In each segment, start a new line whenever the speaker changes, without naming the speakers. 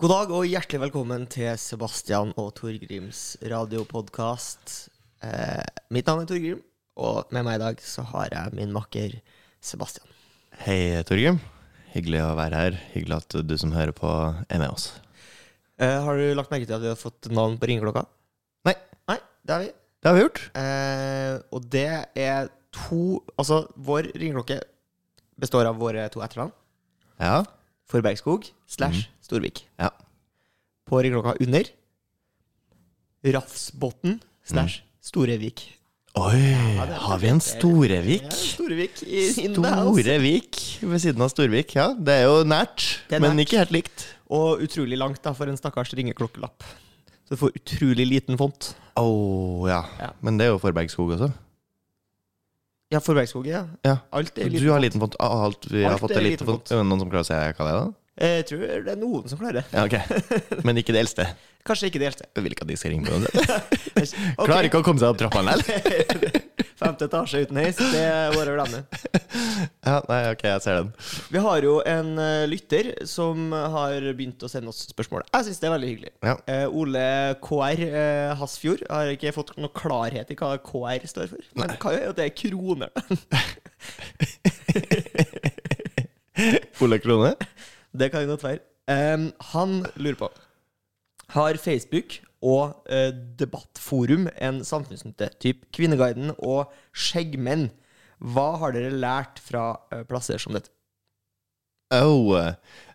God dag og hjertelig velkommen til Sebastian og Torgrims radiopodkast. Eh, mitt navn er Torgrim, og med meg i dag så har jeg min makker Sebastian.
Hei, Torgrim. Hyggelig å være her. Hyggelig at du som hører på, er med oss.
Eh, har du lagt merke til at vi har fått navn på ringeklokka?
Nei.
Nei, det har vi.
Det har vi gjort.
Eh, og det er to Altså, vår ringeklokke består av våre to etternavn.
Ja.
Forbergskog slash Storvik.
Ja.
På ringeklokka under Rafsbotn slash Storevik.
Oi,
det er-
har vi en Storevik?
Ja, Storevik i in the house.
Storevik ved siden av Storvik. Ja, det er jo nært,
Det er
men
nært.
ikke helt likt.
Og utrolig langt da for en stakkars ringeklokkelapp. Så du får utrolig liten font.
Å ja.
Ja.
Men det er jo Forbergskog også.
Ja, Forbergskog, ja.
Ja.
Alt er
Du
liten.
har liten font. Ah, Alt vi har
Alt
fått
er
er liten
liten
font. Er det noen som klarer å si hva det er? da?
Jeg tror det er noen som klarer det.
Ja, ok. Men ikke det eldste.
Kanskje ikke det eldste.
Jeg vil ikke at de skal ringe på hverandre.
Ok.
Klarer ikke å komme seg opp trappene heller.
Femte etasje uten heis, det er bare å glemme.
Ja, nei, ok, jeg ser den.
Vi har jo en eh, lytter som har begynt å sende oss spørsmål. Jeg syns det er veldig hyggelig.
Ja.
Eh, Ole KR eh, Hasfjord har ikke fått noe klarhet i hva KR står for. Men hva er det? Det er kroner.
Ole Krone?
Det kan jo godt være. Em, han lurer på Har Facebook og eh, Debattforum en samfunnsnytte? Typ Kvinneguiden og Skjeggmenn. Hva har dere lært fra eh, plasser som dette?
Au.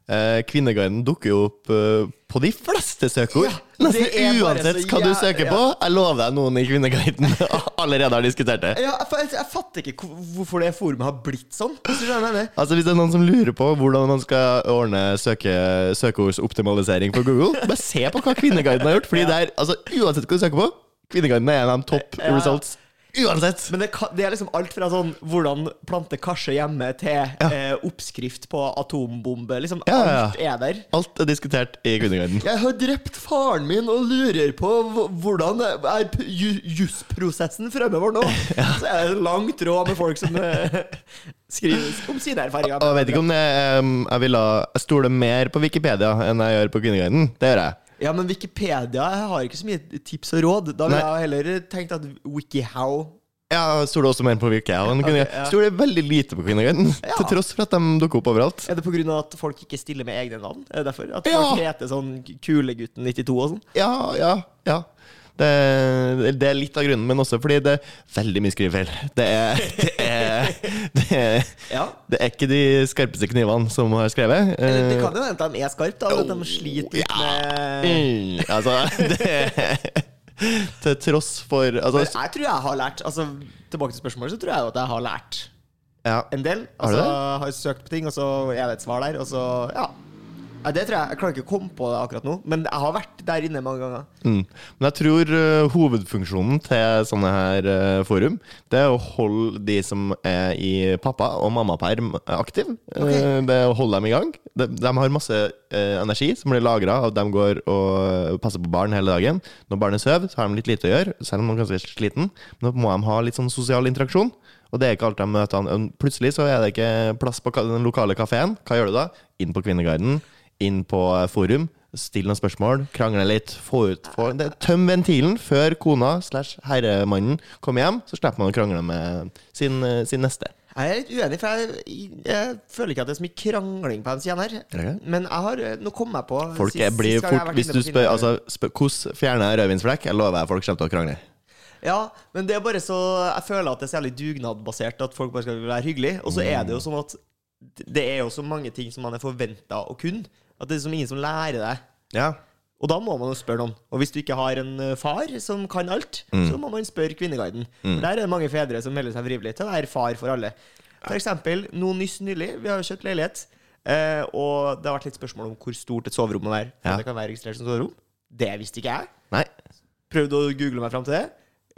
Eh, Kvinneguiden dukker jo opp eh, på de fleste søkeord.
Ja, det
Nesten
er bare
uansett
så
hva du
jæv-
søker på. Jeg lover deg noen i Kvinneguiden allerede har diskutert det.
Ja, jeg, jeg, jeg fatter ikke hvor- hvorfor det forumet har blitt sånn. Hvis du skjønner hva jeg mener.
Altså Hvis det er noen som lurer på hvordan man skal ordne søke, søkeordsoptimalisering på Google, bare se på hva Kvinneguiden har gjort. Fordi det er, altså Uansett hva du søker på, Kvinneguiden er en av de topp
Ja.
results. Uansett!
Men det, kan- det er liksom alt fra sånn hvordan plante karse hjemme, til eh, oppskrift på atombombe. Liksom
Ja, ja, ja.
alt er der.
Alt er diskutert i Kvinneguiden.
Jeg har drept faren min og lurer på hv- hvordan er p- ju- jusprosessen fremover nå? Så er det en lang tråd med folk som eh, skriver om sine erfaringer.
Og jeg vet ikke om det, em, jeg ville Jeg stoler mer på Wikipedia enn jeg gjør på Kvinneguiden. Det gjør jeg.
Ja, men Wikipedia har ikke så mye tips og råd. Da ville
Nei.
jeg heller tenkt at WikiHow
Ja, jeg stoler også mer på Wikia. Og okay,
ok, ja.
Stoler veldig lite på Kvinneguiden,
Ja.
til tross for at de dukker opp overalt.
Er det pga. at folk ikke stiller med egne navn? Er det derfor? At
Ja.
folk heter sånn Kulegutten92 og sånn?
Ja, ja, ja. Det, det er litt av grunnen, men også fordi det er veldig mye skrivefeil. Det er, det er, det er,
Ja.
det er ikke de skarpeste knivene som har skrevet. Eh,
Eller det kan jo hende at de er skarpe, da. men At de sliter litt
Ja.
med
Mm, altså, det, til tross for altså,
Men jeg tror jeg har lært Altså, tilbake til spørsmålet, så tror jeg jo at jeg har lært
ja.
en del.
Har du
Altså, har jeg søkt på ting, og så er det et svar der, og så Ja. Nei, det tror jeg. Jeg klarer ikke å komme på det akkurat nå, men jeg har vært der inne mange ganger.
Mm. Men jeg tror eh, hovedfunksjonen til sånne her eh, forum, det er å holde de som er i pappa- og mammaperm aktiv. Eh,
Ok.
det er å holde dem i gang. De, de har masse eh, energi som blir lagra av at de går og passer på barn hele dagen. Når barnet sover, så har de litt lite å gjøre, selv om de er ganske sliten. Men da må de ha litt sånn sosial interaksjon. Og det er ikke alt de møter han. Plutselig så er det ikke plass på ka- den lokale kafeen. Hva gjør du da? Inn på Kvinneguiden, inn på eh, forum, still noen spørsmål, krangle litt. Få ut, få, det, tøm ventilen før kona slash herremannen kommer hjem, så slipper man å krangle med sin, eh, sin neste.
Jeg er litt uenig, for jeg, jeg føler ikke at det er så mye krangling på NCN her.
det?
Men jeg har eh, Nå kom jeg på
Folk
sist-
er, blir
sist gang jeg har
fort,
vært
hvis
inne
du
på Tinder.
spør altså, spør, hvordan fjerner jeg rødvinsflekk, jeg lover jeg folk kommer til å krangle.
Ja, men det er bare så Jeg føler at det er særlig dugnadbasert, at folk bare skal være hyggelige. Og så er
Mm.
det jo sånn at det er jo så mange ting som man er forventa å kunne. At det er som ingen som lærer deg.
Ja.
Og da må man jo spørre noen. Og hvis du ikke har en eh, far som kan alt,
Mm.
så må man spørre Kvinneguiden. For Der er det mange fedre som melder seg frivillig til å være far for alle. For eksempel, nå nyss nylig, vi har jo kjøpt leilighet, eh, og det har vært litt spørsmål om hvor stort et soverom må være. Om
Ja.
Det kan være registrert som soverom. Det visste ikke jeg.
Nei.
Prøvde å google meg fram til det.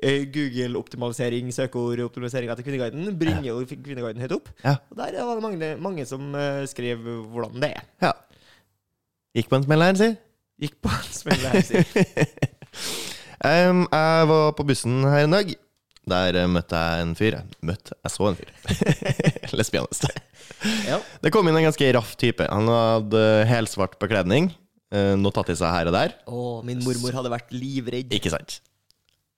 Eh, Google-optimalisering, søkeordoptimaliseringa til Kvinneguiden bringer jo Kvinneguiden høyt opp.
Ja.
Og der var det mange, mange som eh, skrev hvordan det er.
ja. Gikk på en smell her, si.
Gikk på en smell, jeg vil si.
Em, Um, jeg var på bussen her en dag. Der eh, møtte jeg en fyr. Jeg Møtte Jeg så en fyr. Lesbianist.
Ja.
Det kom inn en ganske raff type. Han hadde helsvart bekledning. eh, noe tatt i seg her og der.
Å, min mormor hadde vært livredd.
Ikke sant?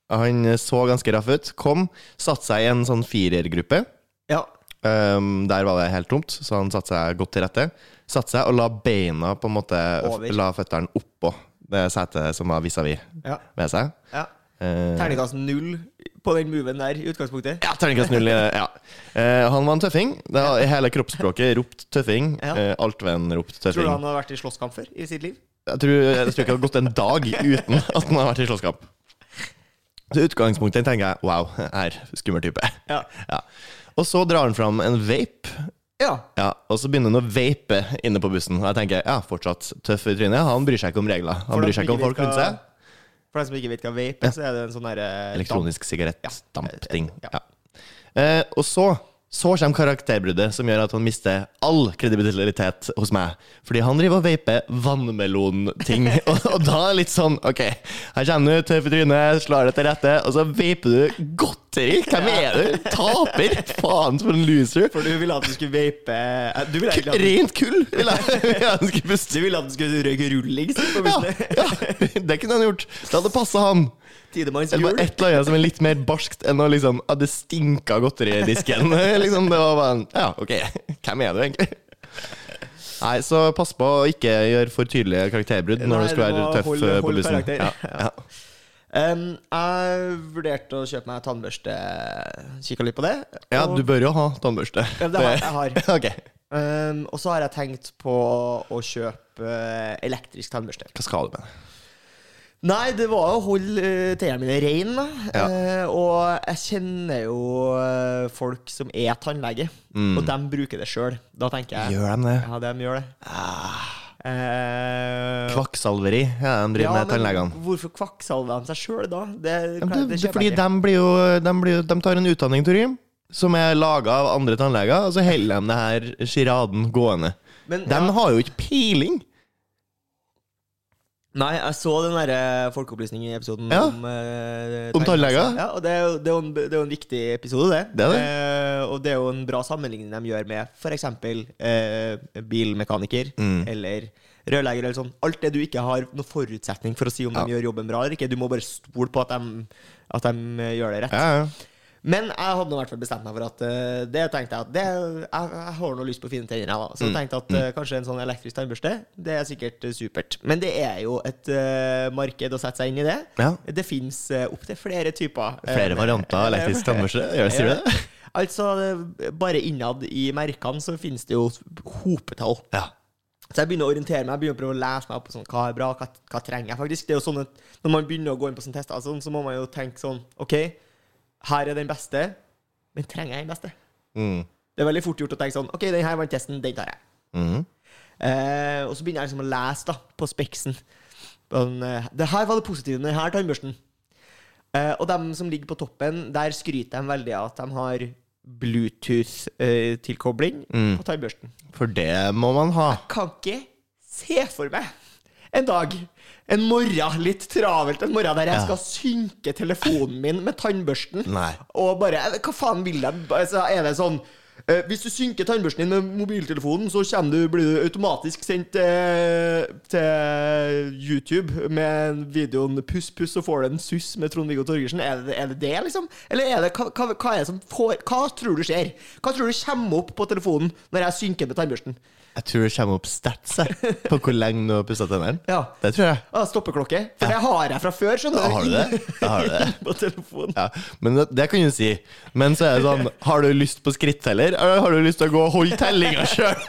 Han eh, så ganske raff ut. Kom, satte seg i en sånn firergruppe.
Ja.
Ehm, der var det helt tomt, så han satte seg godt til rette. Satte seg og la beina på en måte
Over.
La føttene oppå det setet som var vis-à-vis
ja,
ved seg.
ja.
Eh,
Terningkast null på den moven der i utgangspunktet.
ja, terningkast null. eh, Ja. Eh, han var en tøffing. Det var, hele kroppsspråket ropt tøffing.
Ja.
Eh, alt ved en ropt
Tror du
tøffing.
han har vært i slåsskamp før i sitt liv?
Jeg tror, jeg tror ikke det har gått en dag uten at han har vært i slåsskamp. Så i utgangspunktet tenker jeg wow, her, skummel type.
Ja.
Ja. Og så drar han fram en vape,
Ja.
ja, og så begynner han å vape inne på bussen. Og jeg tenker ja, fortsatt tøff i trynet. Han bryr seg ikke om regler. Han
For
bryr
dem
seg ikke om
som ikke
folk rundt
vet
seg.
hva- For dem som ikke vet hva vape er, så er det en sånn derre
Elektronisk sigarettdampting.
Ja.
Ja. Eh, og så så kommer karakterbruddet som gjør at han mister all kredibilitet hos meg. Fordi han driver og vaper vannmelonting. og, og da er det litt sånn OK, her kommer du, tøff i trynet, slår deg til rette, og så vaper du godteri! Hvem er du? Taper! Faen, for en loser!
For du ville at du skulle vape eh, Du ville egentlig at
Rent kull! Vil jeg, vil jeg ønske best-
du, ville at du skulle røyke rullings på
ja,
bussen.
ja, det kunne han gjort. Det hadde passa han.
Tidemanns
Det
jul.
var et eller annet som er litt mer barskt enn å liksom ah, det stinka godteri i disken. liksom, det var bare en, Ja, ok, hvem er du egentlig? Nei, så pass på å ikke gjøre for tydelige karakterbrudd når
Nei,
du skal
du
være
må
tøff
holde-
eh, på
holde
bussen.
karakter.
Ja, ja.
Um, jeg vurderte å kjøpe meg tannbørste. Kikka litt på det.
ja,
og-
du bør jo ha tannbørste.
Ja, det har jeg- jeg har.
Ok,
Um, og så har jeg tenkt på å kjøpe eh, elektrisk tannbørste.
Hva skal du med det?
Nei, det var å holde eh, tennene mine reine. da.
Ja.
Eh, og jeg kjenner jo eh, folk som er tannlege,
Mm.
og de bruker det sjøl. Da tenker jeg
Gjør de det?
Ja, de gjør det. Eh,
Kvakksalveri ja, de driver
ja,
Ah. med, tannlegene.
men hvorfor kvakksalver de seg sjøl da? Det,
Ja, men
det,
Det, det,
kjøper
fordi
jeg ikke.
de, blir jo, de, blir, jo- de tar en utdanning, Torgrim, som er laga av andre tannleger, og så holder de det her sjiraden gående.
Men,
De
ja.
har jo ikke peiling!
Nei, jeg så den eh, derre folkeopplysning-episoden
Ja.
om eh,
Om tannleger?
Ja, og det er, jo, det, er jo en, det er jo en viktig episode, det.
Det er det.
Eh, og det er jo en bra sammenligning de gjør med f.eks. Uh, bilmekaniker
Mm.
eller rørlegger eller sånn. Alt det du ikke har noen forutsetning for å si om
Ja.
de gjør jobben bra eller ikke. Du må bare stole på at de, at de eh, gjør det rett.
Ja, ja.
Men jeg hadde nå i hvert fall bestemt meg for at eh, det tenkte jeg at det, jeg, jeg har nå lyst på fine tenner, jeg, da. Så jeg tenkte at eh, kanskje en sånn elektrisk tannbørste, det er sikkert eh, supert. Men det er jo et eh, marked å sette seg inn i det.
Ja.
Det fins uh, opptil flere typer. eh,
Flere
med-
varianter av elektrisk tannbørste? Gjør sier du det?
Altså, det- bare innad i merkene så finnes det jo hopetall.
Ja.
Så jeg begynner å orientere meg, jeg begynner å prøve å lese meg opp på sånn, hva er bra, hva, hva trenger jeg faktisk. Det er jo sånn at Når man begynner å gå inn på sånne tester, og sånn, så må man jo tenke sånn OK, her er den beste, men trenger jeg den beste?
Mm.
Det er veldig fort gjort å tenke sånn OK, den her vant testen, den tar jeg.
Mhm.
Eh, og så begynner jeg liksom å lese da, på speksen. Sånn, eh, det her var det positive med denne tannbørsten. Eh, og dem som ligger på toppen, der skryter de veldig av at de har Bluetooth-tilkobling
Mm.
på tannbørsten
For det må man ha.
kan ikke se for meg en dag, en morgen, litt travelt, en morgen der jeg
Ja.
skal synke telefonen min med tannbørsten.
Nei.
Og bare "Eh, Hva faen vil de? Altså, er det sånn eh, hvis du synker tannbørsten din med mobiltelefonen, så kommer du, blir du automatisk sendt eh, til YouTube med videoen 'Puss, puss', så får du en suss med Trond-Viggo Torgersen. Er det, er det det, liksom? Eller er det, hva, hva, hva er det som får Hva tror du skjer? Hva tror du kommer opp på telefonen når jeg synker med tannbørsten?
Jeg tror det kommer opp stats jeg, på hvor lenge du har pussa tennene.
Ja.
Det tror jeg.
Ja, stoppeklokke. For det har jeg fra før, skjønner
Da har du det. Da har du det.
På telefonen.
Ja, men det, det kan du si. Men så er det sånn Har du lyst på skritteller, eller har du lyst til å gå og holde tellinga sjøl?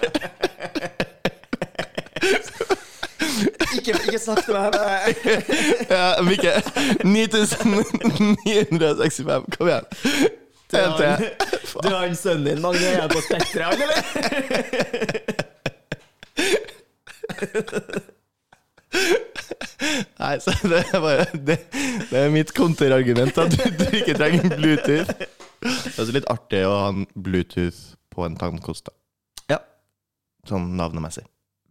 Ikke, ikke snakk til meg. men-
Ja, Mikke. 9965. Kom igjen. En til.
Du har en sønn din, Magne. Er han på Spektrum, eller?
Nei, så det er bare Det, det er mitt kontrargument at du, du ikke trenger Bluetooth. Det er også litt artig å ha en Bluetooth på en tannkost, da.
Ja.
Sånn navnemessig.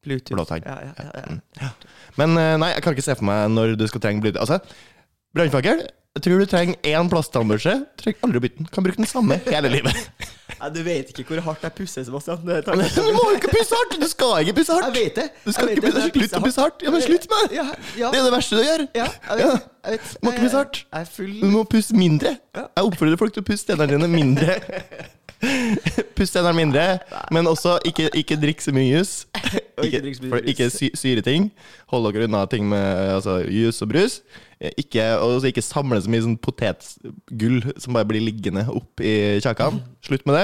Bluetooth.
Blåtann.
Ja, ja, ja, ja.
Mm. Men eh, nei, jeg kan ikke se for meg når du skal trenge Bluetooth. Altså, brannfakkel. Jeg tror du trenger én plasttannbørste. Trenger aldri å bytte den. Kan bruke den samme hele livet.
Nei, du vet ikke hvor hardt jeg pusser, Sebastian. Det tar-
Men Du må jo ikke pusse hardt! Du skal ikke pusse
Jeg
hardt!
vet det.
Du skal
Jeg
ikke
vet
pusse
det, men jeg
Slutt å pusse hardt! Ja, men slutt med det!
Ja, ja,
Det er det verste du gjør!
ja, jeg vet, jeg vet.
Må ikke bli så hardt.
Jeg er full
Du må pusse mindre.
Ja.
Jeg oppfordrer folk til å pusse tennene dine mindre. Puss tennene mindre, men også ikke, ikke drikk så mye jus.
Og ikke drikk så mye
for-
brus.
ikke sy syre ting. Hold dere unna ting med altså, jus og brus. Eh, Ikke, og også ikke samle så mye sånn potetgull som bare blir liggende opp i kjakan. Slutt med det.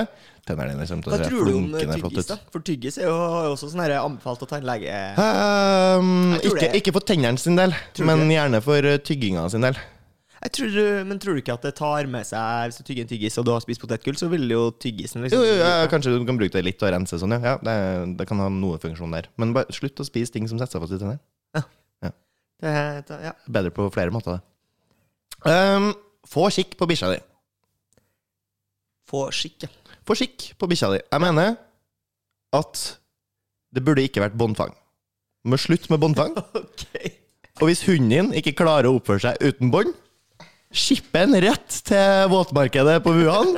Tennene dine kommer til å
Hva
se
tror du om eh,
flunkende flott
tyggis,
ut.
da? For tyggis er jo har jo også sånn her anbefalt å tannlege
Ehm,
Jeg tror
ikke,
det.
ikke for tennene sin del,
Tror du
men gjerne for eh, tygginga sin del.
Jeg tror, du- Men tror du ikke at det tar med seg Hvis du tygger en tyggis, og du har spist potetgull, så vil jo tyggisen liksom
Jo, jo, ja, kanskje du kan bruke det litt og rense sånn, ja. ja det, det kan ha noe funksjon der. Men bare slutt å spise ting som setter seg fast i tennene.
Det- det- ja.
Bedre på flere måter, det. Ehm, få kikk på bikkja di.
Få skikk, ja.
Få kikk på bikkja di. Jeg mener at det burde ikke vært båndfang. Du må slutte med båndfang.
Ok.
Og hvis hunden din ikke klarer å oppføre seg uten bånd, skippe den rett til våtmarkedet på Wuhan.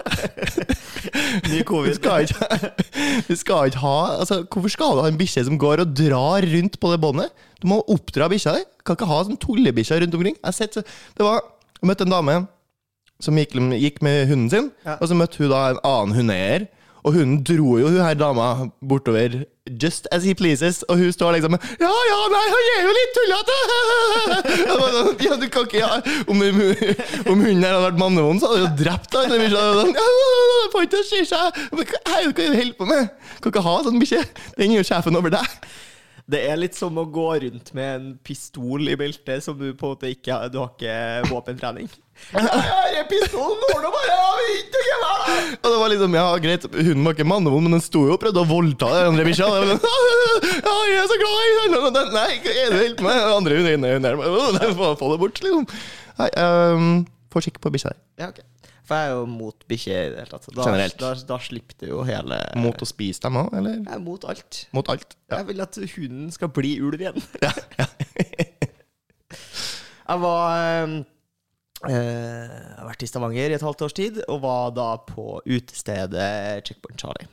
Ny
Vi
covid.
skal ikke, vi skal ikke ha altså, Hvorfor skal du ha en bikkje som går og drar rundt på det båndet? Du må oppdra bikkja di. Kan ikke ha sånn tullebikkjer rundt omkring. Jeg, har sett, så- det var, jeg møtte en dame som gikk, gikk med hunden sin,
Ja.
og så møtte hun da en annen hundeeier. Og hunden dro jo hun her dama bortover just as he pleases, og hun står liksom Ja, ja, nei, han er jo litt tullete! Jeg bare sånn, Ja, du kan ikke ja. om, om hunden her hadde vært mannevond, så hadde hun jo drept han. Den bikkja hadde sånn, ja, det får ikke til å skje seg. Men hva hva er det du holder på med? Kan ikke ha sånn bikkje. Den er jo sjefen over deg.
Det er litt som å gå rundt med en pistol i beltet som du på en måte ikke har Du har ikke våpentrening.
Her er pistolen, går nå bare av, ikke gjør det! Og det var liksom, ja greit, hunden var ikke mannevond, men den sto jo og prøvde å voldta den andre bikkja. Det var sånn, Ja, jeg er så glad i den! den- Nei, hva er det helt med den andre hunden inne her? Åh, den får Få det bort, liksom. Nei, ehm, få kikk på bikkja der.
Ja, ok. For jeg er jo mot bikkjer i det hele tatt. Da,
Generelt.
Da, da slipper du jo hele
Mot å spise dem òg, eller?
Jeg er mot alt.
Mot alt. Ja.
Jeg vil at hunden skal bli ulv igjen.
Ja, ja.
Jeg var eh, eh, Jeg har vært i Stavanger i et halvt års tid, og var da på utestedet Checkpoint Charlie.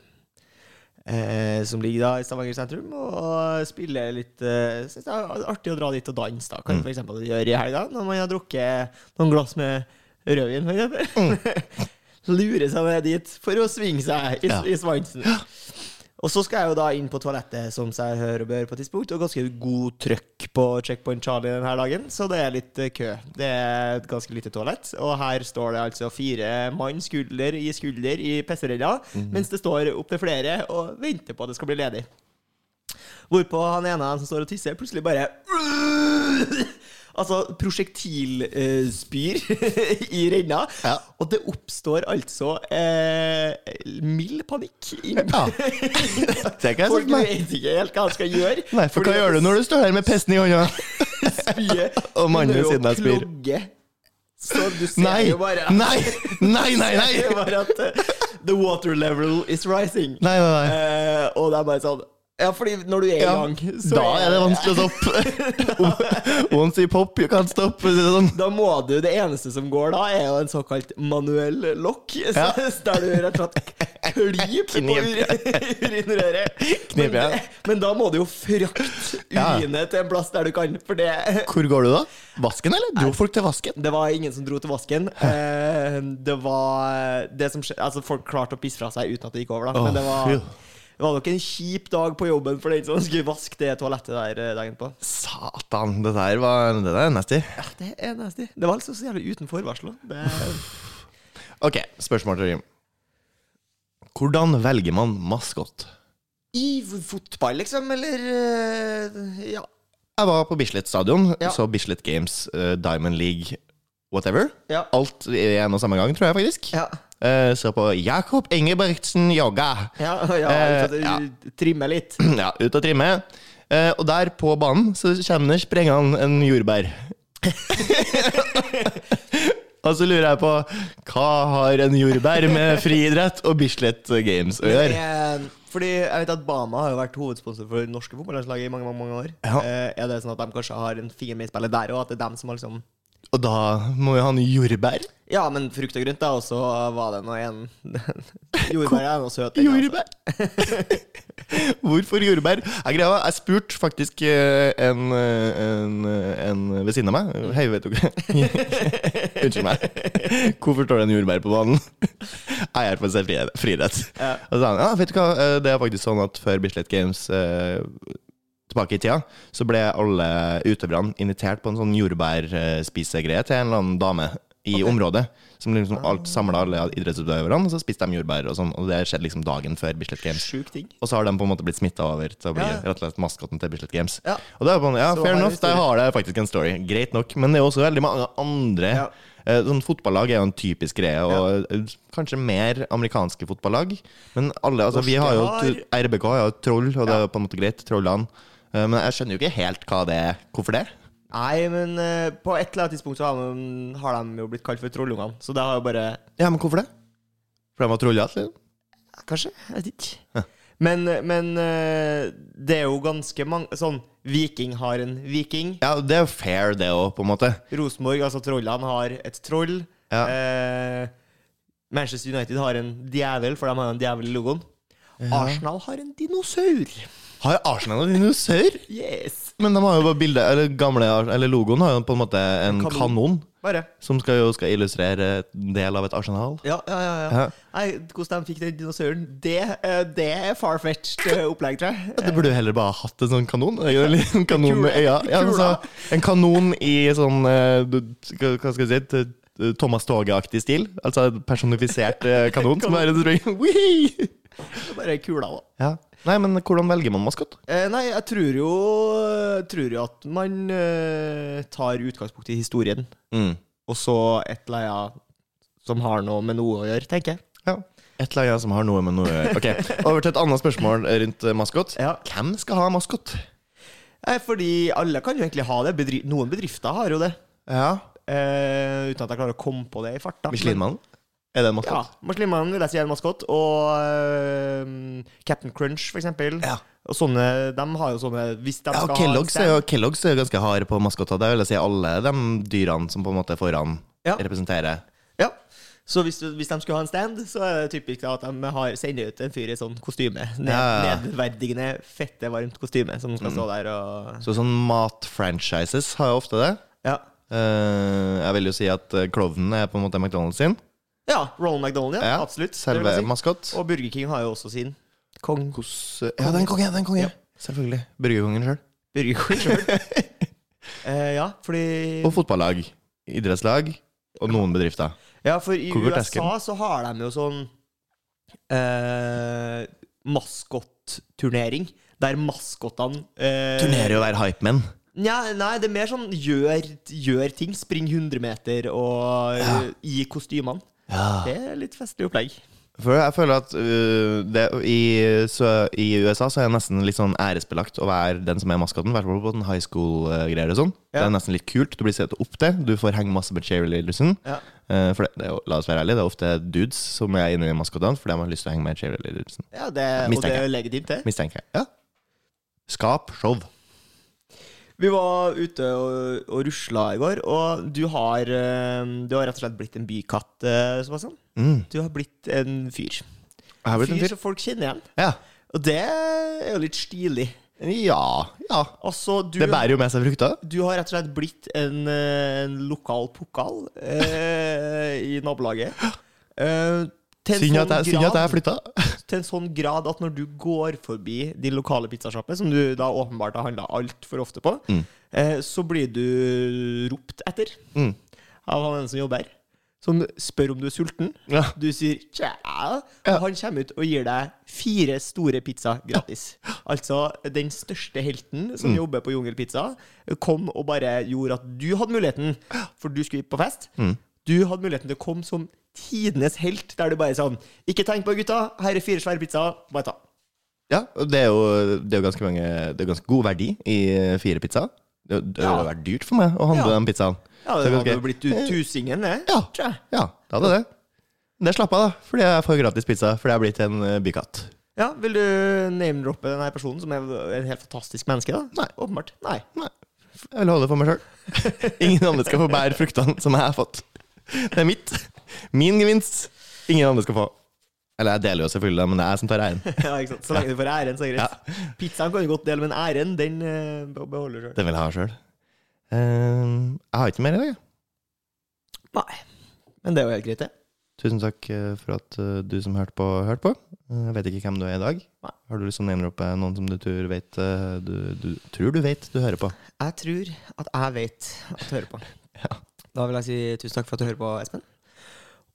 Eh, som ligger da i Stavanger sentrum, og spiller litt eh, Syns det er artig å dra dit og danse, da.
Mm.
Kan for eksempel gjøre i helga, når man har drukket noen glass med rødvin, for eksempel. Lure seg ned dit for å svinge seg i,
Mm. Ja.
i svansen. Og så skal jeg jo da inn på toalettet, som seg hører og bør på et tidspunkt, og ganske god trøkk på Checkpoint Charlie denne dagen, så det er litt eh, kø. Det er et ganske lite toalett, og her står det altså fire mann skulder i skulder i pisserella, mens det står opptil flere og venter på at det skal bli ledig. Hvorpå han ene av dem som står og tisser, plutselig bare Altså prosjektilspyr i renna.
Ja.
Og det oppstår altså eh, mild panikk. Inn,
Ja. Det kan jeg
Folk
sette meg.
vet ikke helt hva de skal gjøre.
Nei, for hva gjør du når du står her med pesten i hånda?
spyr?
Og mannen ved siden av spyr.
Så du ser
Nei!
jo bare
Nei! Nei, nei, nei!
Det er bare at eh, the water level is rising.
Nei, nei, nei.
Eh, og det er bare sånn Ja, fordi når du er i
Ja,
Eh, gang, så
da er det vanskelig å stoppe. Once you pop, you can't stop. for å si det Sånn.
da må du, Det eneste som går da, er jo en såkalt manuell lokk.
Ja.
så- Der du rett og slett klyper på
Knip, ja.
ur- urinrøret.
Knip, ja.
men, men da må du jo frakte
Ja.
urinet til en plass der du kan, for det
Hvor går du da? Vasken, eller? Dro folk til vasken?
Det var ingen som dro til vasken. Eh, det var det som skjedde Altså, folk klarte å pisse fra seg uten at det gikk over, da. Men det var,
fy.
det var nok en kjip dag på jobben for den som skulle vaske det toalettet der eh, dagen på.
Satan, det der var det der er nasty.
Ja, det er nasty. Det var liksom så jævlig uten forvarsel. også. Det,
Ok, spørsmål til Jim. Hvordan velger man maskot?
I fotball, liksom, eller eh, Ja.
Jeg var på Bislett stadion,
Ja.
så Bislett Games, eh, Diamond League, whatever.
Ja.
Alt i en og samme gang, tror jeg faktisk.
Ja.
Eh, så på Jakob Ingebrigtsen Jogga.
Ja, ja,
Eh,
så det-
ja.
Trimme litt.
Ja, ut og trimme. Eh, og der på banen så kommer det sprengende en jordbær. og så lurer jeg på hva har en jordbær med friidrett og Bislett Games å gjøre?
Eh, Fordi jeg vet at Bama har jo vært hovedsponsor for det norske fotballandslaget i mange mange, mange år.
Ja.
Eh, Er det sånn at de kanskje har en finger med i spillet der òg? At det er dem som har liksom
Og da må vi ha noe jordbær.
Ja, men frukt og grønt, da. Og så var det nå en Jordbær er noe søt. den, altså.
Jordbær! Hvorfor jordbær? Jeg, greia, var, jeg spurte faktisk eh, en, eh, en, eh, en ved siden av meg Hei, vet du ikke Unnskyld meg. Hvorfor står det en jordbær på banen? Jeg er for selv fri- frirett.
Ja.
Og så sa han ja, vet du hva, eh, det er faktisk sånn at før Bislett Games eh, tilbake i tida, så ble alle utøverne invitert på en sånn jordbærspisegreie til en eller annen dame i området. Som liksom
Ah.
alt samla alle idrettsutøverne, og så spiste de jordbær og sånn. Og det skjedde liksom dagen før Bislett Games.
Sjuk ting.
Og så har de på en måte blitt smitta over til å bli
Ja, ja.
rett og slett maskotten til Bislett Games.
Ja.
Og det er på en, ja,
Så har
fair
jeg
enough, der
historie.
har det faktisk en story. Greit nok. Men det er også veldig mange andre
Ja.
eh, Sånn Fotballag er jo en typisk greie, og eh, kanskje mer amerikanske fotballag. Men alle, altså, vi
Norske
har jo
har-
t- RBK har jo et troll, og det er på en måte greit. Trollene. Eh, Men jeg skjønner jo ikke helt hva det er. Hvorfor det?
Nei, men eh, på et eller annet tidspunkt så har, man, har de jo blitt kalt for trollungene. Så det har jo bare
Ja, men hvorfor det? For de var troller? Liksom.
Kanskje? Jeg vet ikke. Men, men eh, det er jo ganske mange Sånn, Viking har en viking.
Ja, det er jo fair, det òg, på en måte.
Rosenborg, altså trollene, har et troll.
Ja.
Eh, Manchester United har en djevel, for de har jo en djevel i logoen. Arsenal har en dinosaur.
Har Arsenal en dinosaur?
Yes!
Men de har jo bare bildet, eller gamle, eller logoen har jo på en måte en
kanon.
kanon.
Bare.
Som skal jo skal illustrere en del av et arsenal.
Ja, ja, ja. ja.
Ja.
Nei, hvordan de fikk den dinosauren, det, eh, det er far-fetched eh, opplegg, tror jeg.
Det burde jo heller bare hatt en sånn kanon. Eller en kanon med øya. Ja, men så, en kanon i sånn eh, du- Hva skal jeg si? t- t- Thomas Toge-aktig stil. Altså en personifisert eh, kanon som er en sprøyte. Whee!
Bare kula òg.
Ja. Nei, men hvordan velger man maskot?
Eh, nei, jeg tror jo, eh, tror jo at man eh, tar utgangspunkt i historien,
Mm.
og så et eller annet som har noe med noe å gjøre, tenker jeg.
Ja. Et eller annet som har noe med noe å gjøre. Ok, Over til et annet spørsmål rundt eh, maskot.
Ja.
Hvem skal ha maskot?
Nei, fordi alle kan jo egentlig ha det. Bedri noen bedrifter har jo det.
Ja.
Eh, uten at jeg klarer å komme på det i farta.
Michelinmannen? Er det en
Ja,
maskot?
Muslimmannen vil jeg si er en maskot. Og eh, Captain Crunch, for eksempel.
Ja.
Og sånne, de har jo sånne Hvis de
Ja,
skal
Kellogg's
ha
er, jo, Kellogg's er jo ganske hard på maskotter. Det vil jeg si alle de dyrene som på en måte er foran
Ja.
representerer.
Ja. Så hvis, du- hvis de skulle ha en stand, så er det typisk da at de har, sender ut en fyr i sånn kostyme. Ned,
Ja, ja, Mm. ja.
Nedverdigende, fette, varmt kostyme som skal stå der og
Så sånn matfranchises har jo ofte det.
Ja.
Eh, jeg vil jo si at eh, klovnen er på en måte McDonald's sin.
ja Ronald McDonald, ja.
Ja,
absolutt. det vil
Selve
jeg si.
maskot.
Og Burger King har jo også sin. Kong.
Hvordan- Ja, den kongen, den kongen.
Ja.
Selvfølgelig. Burgerkongen sjøl.
Burger King sjøl. eh, ja, fordi
Og fotballag. Idrettslag. Og noen bedrifter.
Ja, for i
Hvor går
USA
terskelen?
så har de jo sånn eh, maskotturnering. Der maskottene eh,
Turnerer å være hypemenn.
Nja, nei, det er mer sånn gjør, gjør ting. Spring 100 meter og eh, i kostymene.
Ja.
Det er litt festlig opplegg.
For jeg føler at øh, det, i, så, i USA så er det nesten litt sånn æresbelagt å være den som er maskoten. I hvert fall på den high school-greier og sånn.
Ja.
Det er nesten litt kult. Du blir sett opp til. Du får henge masse med cheerleadersen.
Ja.
Eh, for det, det er jo, la oss være ærlige, det er ofte dudes som er inne i maskotene fordi de har lyst til å henge med cheerleadersen.
Ja, det, og det
Mistenker.
er legitimt, det.
Mistenker jeg. Ja. Skap show.
Vi var ute og, og rusla i går, og du har, eh, du har rett og slett blitt en bykatt, eh, Sebastian.
Mm.
Du har blitt en fyr.
Jeg har blitt en
Fyr
fyr.
som folk kjenner igjen.
Ja.
Og det er jo litt stilig.
ja. Ja.
Altså, du,
Det bærer jo med seg frukter.
du har rett og slett blitt en, eh, en lokal pokal eh, i nabolaget. Eh, til, en
Synd at
sånn
jeg- synd at jeg
grad,
flytta.
til en sånn grad at når du går forbi din lokale pizzasjappe, som du da åpenbart har handla altfor ofte på, eh, så blir du ropt etter
Mm.
av han ene som jobber her, som spør om du er sulten.
Ja.
Du sier tja, og han kommer ut og gir deg fire store pizza gratis. Altså, den største helten som
Mm.
jobber på Jungelpizza, kom og bare gjorde at du hadde muligheten, for du skulle på fest.
Mm.
Du hadde muligheten til å komme som tidenes helt, der du bare sånn Ikke tenk på gutta, her er fire svære pizzaer, bare ta.
Ja, og det er jo, det er jo ganske, mange, det er ganske god verdi i eh, fire pizzaer. Det det
Ja.
hadde vært dyrt for meg å handle
Ja.
den pizzaen.
Ja,
Så
det
jeg
hadde jo
kan
blitt
ikke-
ut tusingen, det.
Ja.
tror jeg.
Ja, det hadde det. Men Det slapp jeg, da, fordi jeg får gratis pizza fordi jeg er blitt en eh, bykatt.
Ja, Vil du name-droppe denne personen, som er en helt fantastisk menneske? da?
Nei.
Åpenbart. Nei.
Nei. Jeg vil holde det for meg sjøl. Ingen andre skal få bære fruktene som jeg har fått. Det er mitt. Min gevinst. Ingen andre skal få. Eller jeg deler jo selvfølgelig det, men det er jeg som tar æren.
ja, ikke sant? Så lenge du får æren, så er det greit. Pizzaen kan du godt dele, men æren, den eh, be- beholder du sjøl.
Den vil jeg ha sjøl. jeg har ikke mer i dag. jeg.
Nei. Men det er jo helt greit, det.
Tusen takk eh, for at eh, du som hørte på, hørte på. Eh, Jeg vet ikke hvem du er i dag.
Nei.
Har du lyst til å nevne noen som du tror, vet, eh, du, du, tror du vet du hører på?
Jeg tror at jeg vet at du hører på.
Ja.
Da vil jeg si tusen takk for at du hører på, Espen.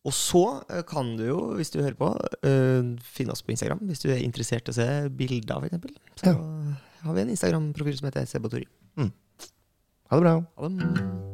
Og så eh, kan du jo, hvis du hører på, eh, finne oss på Instagram hvis du er interessert i å se bilder, f.eks. Så har vi en Instagram-profil som heter Sebotori.
Ha det bra.
Ha det.